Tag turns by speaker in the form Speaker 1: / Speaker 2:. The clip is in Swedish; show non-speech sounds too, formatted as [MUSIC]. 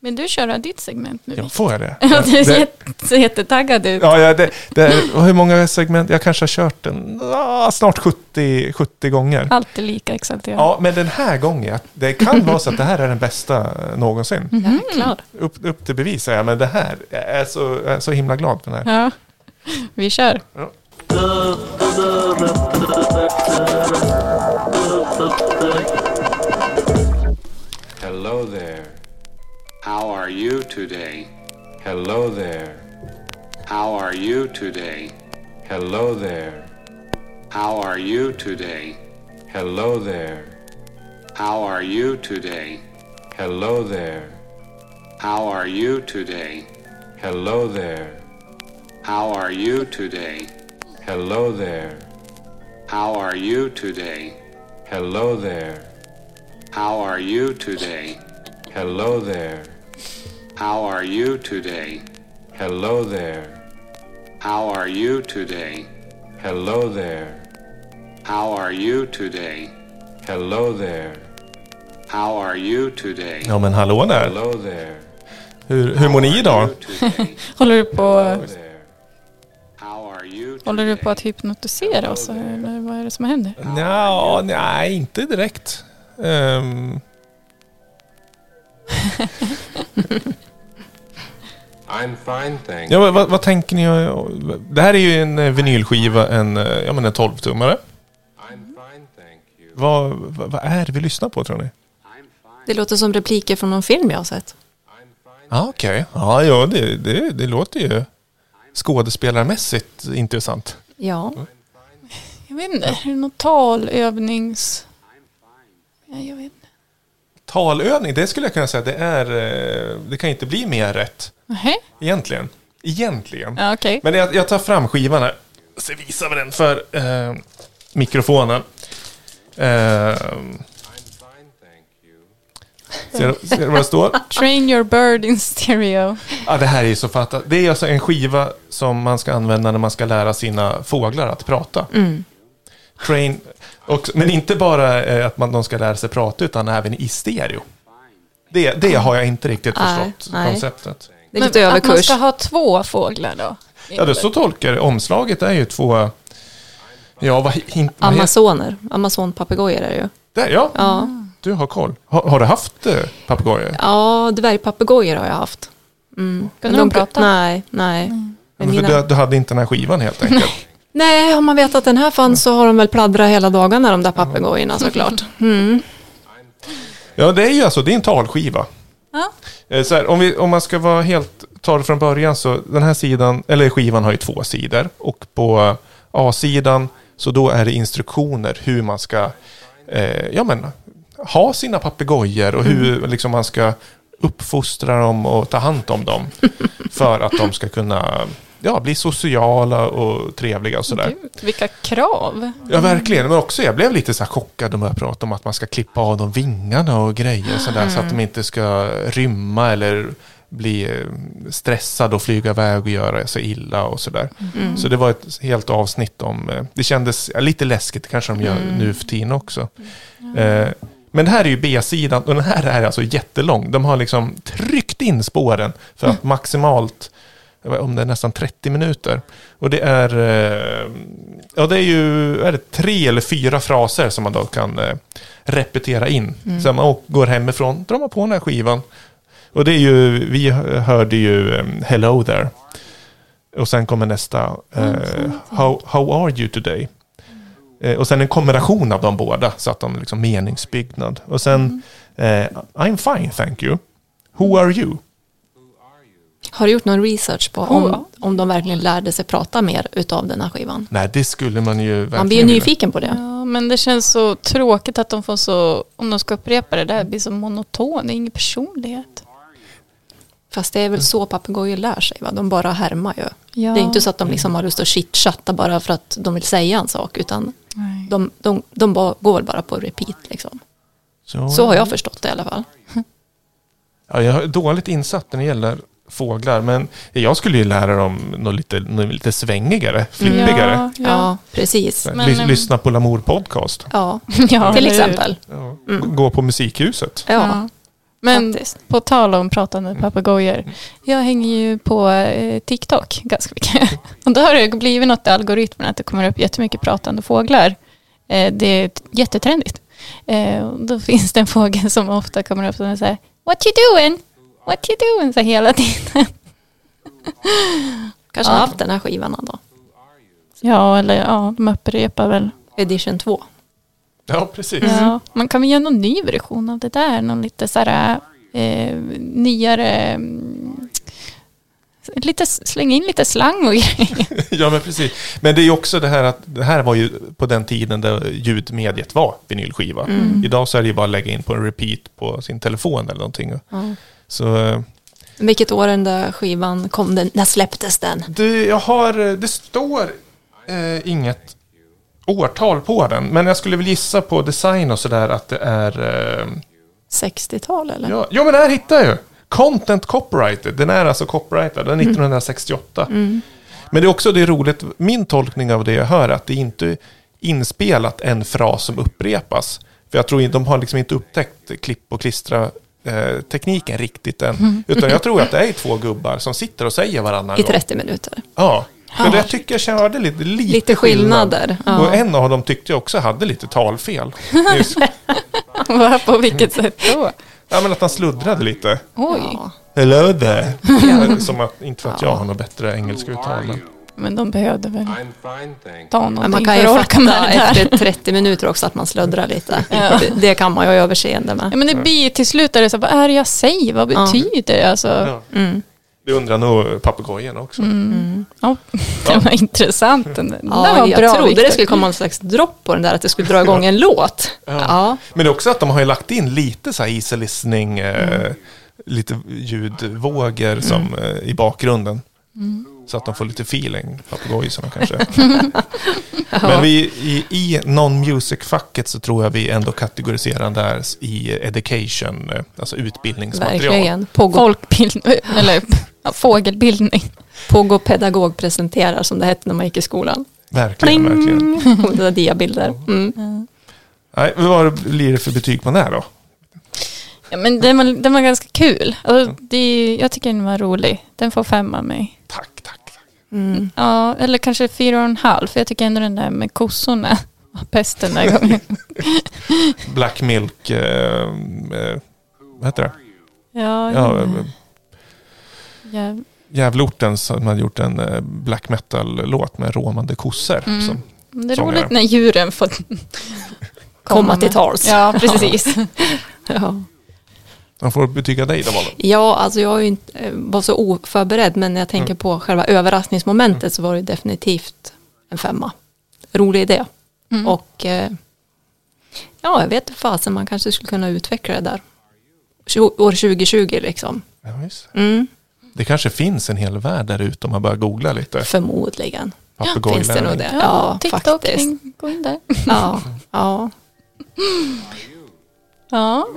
Speaker 1: Vill du köra ditt segment nu?
Speaker 2: Ja, får jag det?
Speaker 1: [LAUGHS] Ja, du
Speaker 2: det
Speaker 1: är [LAUGHS] jätte, jättetaggad ut.
Speaker 2: ja, ja, det, det är, och hur många segment? Jag kanske har kört den ah, snart 70, 70 gånger.
Speaker 1: Alltid lika exalterad.
Speaker 2: Ja, men den här gången, det kan vara så att det här är den bästa någonsin.
Speaker 1: Jag är klar.
Speaker 2: Upp, upp till bevis säger jag, men det här, jag är så, jag är så himla glad för den här.
Speaker 1: Ja. Vi kör.
Speaker 3: Hello there. How are you today? Hello there. How are you today? Hello there. How are you today? Hello there. How are you today? Hello there. How are you today? Hello there. How are you today? Hello there. How are you today? Hello there. How are you today? Hello there. How are you today? Hello there. How are you today? Hello there. How are you today? Hello there. How are you today?
Speaker 2: Ja, men hallå där.
Speaker 3: Hello there.
Speaker 2: Hur, hur mår ni idag?
Speaker 3: You today.
Speaker 1: Håller du på,
Speaker 3: There. How are you
Speaker 1: håller du
Speaker 3: today?
Speaker 1: på att hypnotisera oss? Eller vad är det som händer?
Speaker 2: Nja, nej, inte direkt. Ehm,
Speaker 3: I'm fine, thank
Speaker 2: ja, men vad, vad tänker ni? Det här är ju en eh, vinylskiva, en, eh, ja, men en 12-tummare.
Speaker 3: I'm fine, thank you.
Speaker 2: Vad, vad, vad är det vi lyssnar på tror ni?
Speaker 3: I'm fine.
Speaker 4: Det låter som repliker från någon film jag har sett.
Speaker 3: I'm fine.
Speaker 2: Ah, Okej, ja, ja det, det, det låter ju skådespelarmässigt intressant.
Speaker 4: Ja.
Speaker 1: Jag vet inte. Är det någon talövnings... Ja, jag vet inte.
Speaker 2: Talövning, det skulle jag kunna säga, det, är, eh, det kan inte bli mer rätt
Speaker 1: Nähä?
Speaker 2: egentligen. Egentligen.
Speaker 1: Ja, okej.
Speaker 2: Men jag, jag tar fram skivan här. Så visar vi den för eh, mikrofonen. Eh,
Speaker 3: I'm fine, thank you.
Speaker 2: ser, ser du vad det står?
Speaker 1: Train your bird in stereo.
Speaker 2: Ja, det här är ju så fattat. Det är alltså en skiva som man ska använda när man ska lära sina fåglar att prata.
Speaker 4: Mm.
Speaker 2: Train, och, men inte bara eh, att man, de ska lära sig prata, utan även i stereo. Det, det har jag inte riktigt
Speaker 4: Nej,
Speaker 2: förstått
Speaker 4: nej.
Speaker 2: konceptet.
Speaker 4: Det är lite
Speaker 1: att man
Speaker 4: överkurs.
Speaker 1: ska ha två fåglar då?
Speaker 2: Ja, det så tolkar jag det. Omslaget är ju två... Ja, vad, hin, vad heter
Speaker 4: Amazoner. Amazonpapegojor är det ju.
Speaker 2: det? Ja,
Speaker 4: Ja.
Speaker 1: Ah.
Speaker 2: du har koll. Har, har du haft eh, papegojor?
Speaker 4: ja, dvärgpapegojor har jag haft. Mm. Men
Speaker 1: de prata?
Speaker 4: Nej, nej. Men
Speaker 2: Men för
Speaker 4: mina...
Speaker 2: du, du hade inte den här skivan helt enkelt.
Speaker 4: Nej, om man vet att den här fanns så har de väl pladdrat hela dagarna de där papegojorna såklart. Mm.
Speaker 2: ja, det är ju alltså, det är en talskiva.
Speaker 1: Ja.
Speaker 2: Eh, Så här, om, vi, om man ska vara helt, ta det från början så den här sidan, eller skivan har ju två sidor och på A-sidan så då är det instruktioner hur man ska eh, ja, men, ha sina papegojor och hur liksom, man ska uppfostra dem och ta hand om dem för att de ska kunna ja, bli sociala och trevliga och sådär.
Speaker 1: Gud, vilka krav.
Speaker 2: Ja, verkligen. Men också jag blev lite så här chockad när jag pratade om att man ska klippa av dem vingarna och grejer och sådär, så att de inte ska rymma eller bli eh, stressade och flyga iväg och göra sig illa och sådär. Så det var ett helt avsnitt om, eh, det kändes ja, lite läskigt, det kanske de gör nu för tiden också. Eh, Men det här är ju B-sidan och den här är alltså jättelång. De har liksom tryckt in spåren för att maximalt, jag vet, om det är nästan 30 minuter. Och det är, eh, ja det är ju är det tre eller fyra fraser som man då kan eh, repetera in.
Speaker 4: Mm.
Speaker 2: Så man å- går hemifrån, drar man på den här skivan. Och det är ju, vi hörde ju eh, Hello there. Och sen kommer nästa,
Speaker 4: Mm.
Speaker 2: eh, how, how are you today? Eh, och sen en kombination av de båda, så att de är liksom meningsbyggnad. Och sen,
Speaker 4: Mm.
Speaker 2: eh, I'm fine thank you. Who are you?
Speaker 4: Har du gjort någon research på
Speaker 1: Oh.
Speaker 4: om, om de verkligen lärde sig prata mer utav den här skivan?
Speaker 2: Nej, det skulle man ju verkligen
Speaker 4: Man blir ju
Speaker 2: vilja.
Speaker 4: nyfiken på det.
Speaker 1: Ja, men det känns så tråkigt att de får så, om de ska upprepa det där, det blir så monoton, det är ingen personlighet.
Speaker 4: Fast det är väl så papegojor lär sig, va? de bara härmar ju.
Speaker 1: Ja.
Speaker 4: Det är inte så att de liksom har lust att chitchatta bara för att de vill säga en sak, utan de, de, de bara, går väl bara på repeat. Liksom.
Speaker 2: Så,
Speaker 4: Så har jag förstått det i alla fall.
Speaker 2: Ja, jag är dåligt insatt när det gäller fåglar, men jag skulle ju lära dem något lite, något lite svängigare, flippigare.
Speaker 1: Ja,
Speaker 4: Ja,
Speaker 1: ja.
Speaker 4: precis.
Speaker 2: Så här,
Speaker 1: men,
Speaker 2: lys-
Speaker 1: ehm,
Speaker 2: Lyssna på Lamour podcast.
Speaker 4: Ja,
Speaker 1: [LAUGHS] Ja,
Speaker 4: till
Speaker 1: eller hur?
Speaker 4: exempel.
Speaker 2: Ja. Gå på musikhuset.
Speaker 4: Ja.
Speaker 1: Men
Speaker 4: Faktiskt.
Speaker 1: på tal om pratande papegojor. Jag hänger ju på eh, TikTok ganska mycket. [LAUGHS] Och då har det blivit något i algoritmen att det kommer upp jättemycket pratande fåglar. Eh, det är t- jättetrendigt. Eh, och då finns det en fågel som ofta kommer upp som säger What you doing? What you doing? Så hela tiden.
Speaker 4: Kanske
Speaker 1: Ja.
Speaker 4: har haft den här skivan då.
Speaker 1: Ja, eller ja, de upprepar väl.
Speaker 4: Edition 2.
Speaker 2: Ja, precis.
Speaker 1: Mm. Ja, man kan väl göra någon ny version av det där. Någon lite så här eh, nyare... mm, Lite, släng in lite slang och grejer.
Speaker 2: [LAUGHS] Ja, men precis. Men det är ju också det här att det här var ju på den tiden där ljudmediet var vinylskiva.
Speaker 1: Mm.
Speaker 2: Idag så är det ju bara att lägga in på en repeat på sin telefon eller någonting. Så eh,
Speaker 4: Mm. Vilket år den där skivan kom? Den, när släpptes den?
Speaker 2: det, jag har, det står eh, inget årtal på den, men jag skulle väl gissa på design och sådär att det är... Eh,
Speaker 4: 60-tal eller?
Speaker 2: ja, jo, men det här hittar jag ju! Content copyrighted, den är alltså copyrightad, den är 1968. Men det är också det är roligt, min tolkning av det jag hör är att det inte är inspelat en fras som upprepas. För jag tror inte- de har liksom inte upptäckt klipp och klistra eh, tekniken riktigt än. Utan jag tror att det är två gubbar som sitter och säger varannan
Speaker 4: I
Speaker 2: gång.
Speaker 4: 30 minuter.
Speaker 2: Ja, för jag tycker jag hörde lite, lite,
Speaker 4: Lite skillnader,
Speaker 2: skillnad.
Speaker 4: ja.
Speaker 2: Och en av dem tyckte jag också hade lite
Speaker 4: [LAUGHS]
Speaker 2: talfel. Just,
Speaker 1: [LAUGHS] Va, På vilket sätt då?
Speaker 2: ja, men att han sluddrade lite.
Speaker 1: Oj,
Speaker 4: Mm. Ja.
Speaker 2: Hello there. Som att, inte för att jag har något bättre engelska
Speaker 3: Who are
Speaker 2: uttal. Men.
Speaker 3: you?
Speaker 1: men de behövde väl
Speaker 3: I'm fine, thank you.
Speaker 1: ta
Speaker 4: Men
Speaker 1: någonting
Speaker 4: man kan ju
Speaker 1: för att orka med
Speaker 4: fatta
Speaker 1: det där.
Speaker 4: efter 30 minuter också att man slöddrar lite. det, det kan man ju ha överseende med.
Speaker 1: Ja, men det blir till slut är det så här, vad är det jag säger? Vad
Speaker 4: Ja.
Speaker 1: betyder det? Alltså,
Speaker 2: Ja. Det undrar nog papegojorna också.
Speaker 1: ja. Det var intressant. Den, den
Speaker 4: Ja,
Speaker 1: där var
Speaker 4: jag
Speaker 1: bra,
Speaker 4: trodde
Speaker 1: Victor.
Speaker 4: det skulle komma någon slags dropp på den där, att det skulle dra igång en låt. Ja.
Speaker 2: Men det är också att de har ju lagt in lite så här easy listening, eh, lite ljudvågor som, eh, i bakgrunden. Så att de får lite feeling, papegojorna kanske. Men vi, i, i non-music-facket så tror jag vi ändå kategoriserar den där i education, eh, alltså utbildningsmaterial.
Speaker 4: Verkligen. Pågå,
Speaker 1: Folkbild, [LAUGHS] eller ja, fågelbildning.
Speaker 4: Pågå pedagog presenterar, som det hette när man gick i skolan.
Speaker 2: Verkligen, verkligen.
Speaker 4: [LAUGHS] Och det där diabilder. Mm.
Speaker 2: Nej, vad blir det för betyg på den här då?
Speaker 1: Ja, men den var, den var ganska kul. Alltså, det, är- jag tycker den var rolig. Den får fem av mig.
Speaker 2: Tack, tack. tack.
Speaker 4: Mm.
Speaker 1: Ja, eller kanske fyra och en halv. För jag tycker ändå den där med kossorna [LAUGHS] var bäst den där gången.
Speaker 2: Black Milk, eh, eh, vad heter det?
Speaker 1: [LAUGHS] Ja,
Speaker 2: Ja,
Speaker 1: ja,
Speaker 2: eh, Djävulorten som har gjort en eh, black metal-låt med råmande kossor.
Speaker 4: Mm.
Speaker 2: Som,
Speaker 1: Det är
Speaker 2: Sångare.
Speaker 1: roligt när djuren får
Speaker 4: Komma till
Speaker 1: med. [LAUGHS]
Speaker 4: tals.
Speaker 1: Ja, precis.
Speaker 4: Ja.
Speaker 2: de får betyga dig då, Malin.
Speaker 4: Ja, alltså jag är ju inte, eh, var så oförberedd, men när jag tänker på själva överraskningsmomentet så var det definitivt en femma. Rolig idé. Och eh, ja, jag vet inte fasen, man kanske skulle kunna utveckla det där. Tjo- År 2020 liksom.
Speaker 2: Ja, visst.
Speaker 4: Mm.
Speaker 2: Det kanske finns en hel värld där ute om man börjar googla lite.
Speaker 4: Förmodligen.
Speaker 2: Papegojlärare.
Speaker 4: Finns det nog det?
Speaker 1: Ja, TikTok,
Speaker 4: faktiskt.
Speaker 1: in- gå in där.
Speaker 4: Ja, ja.
Speaker 1: Ja,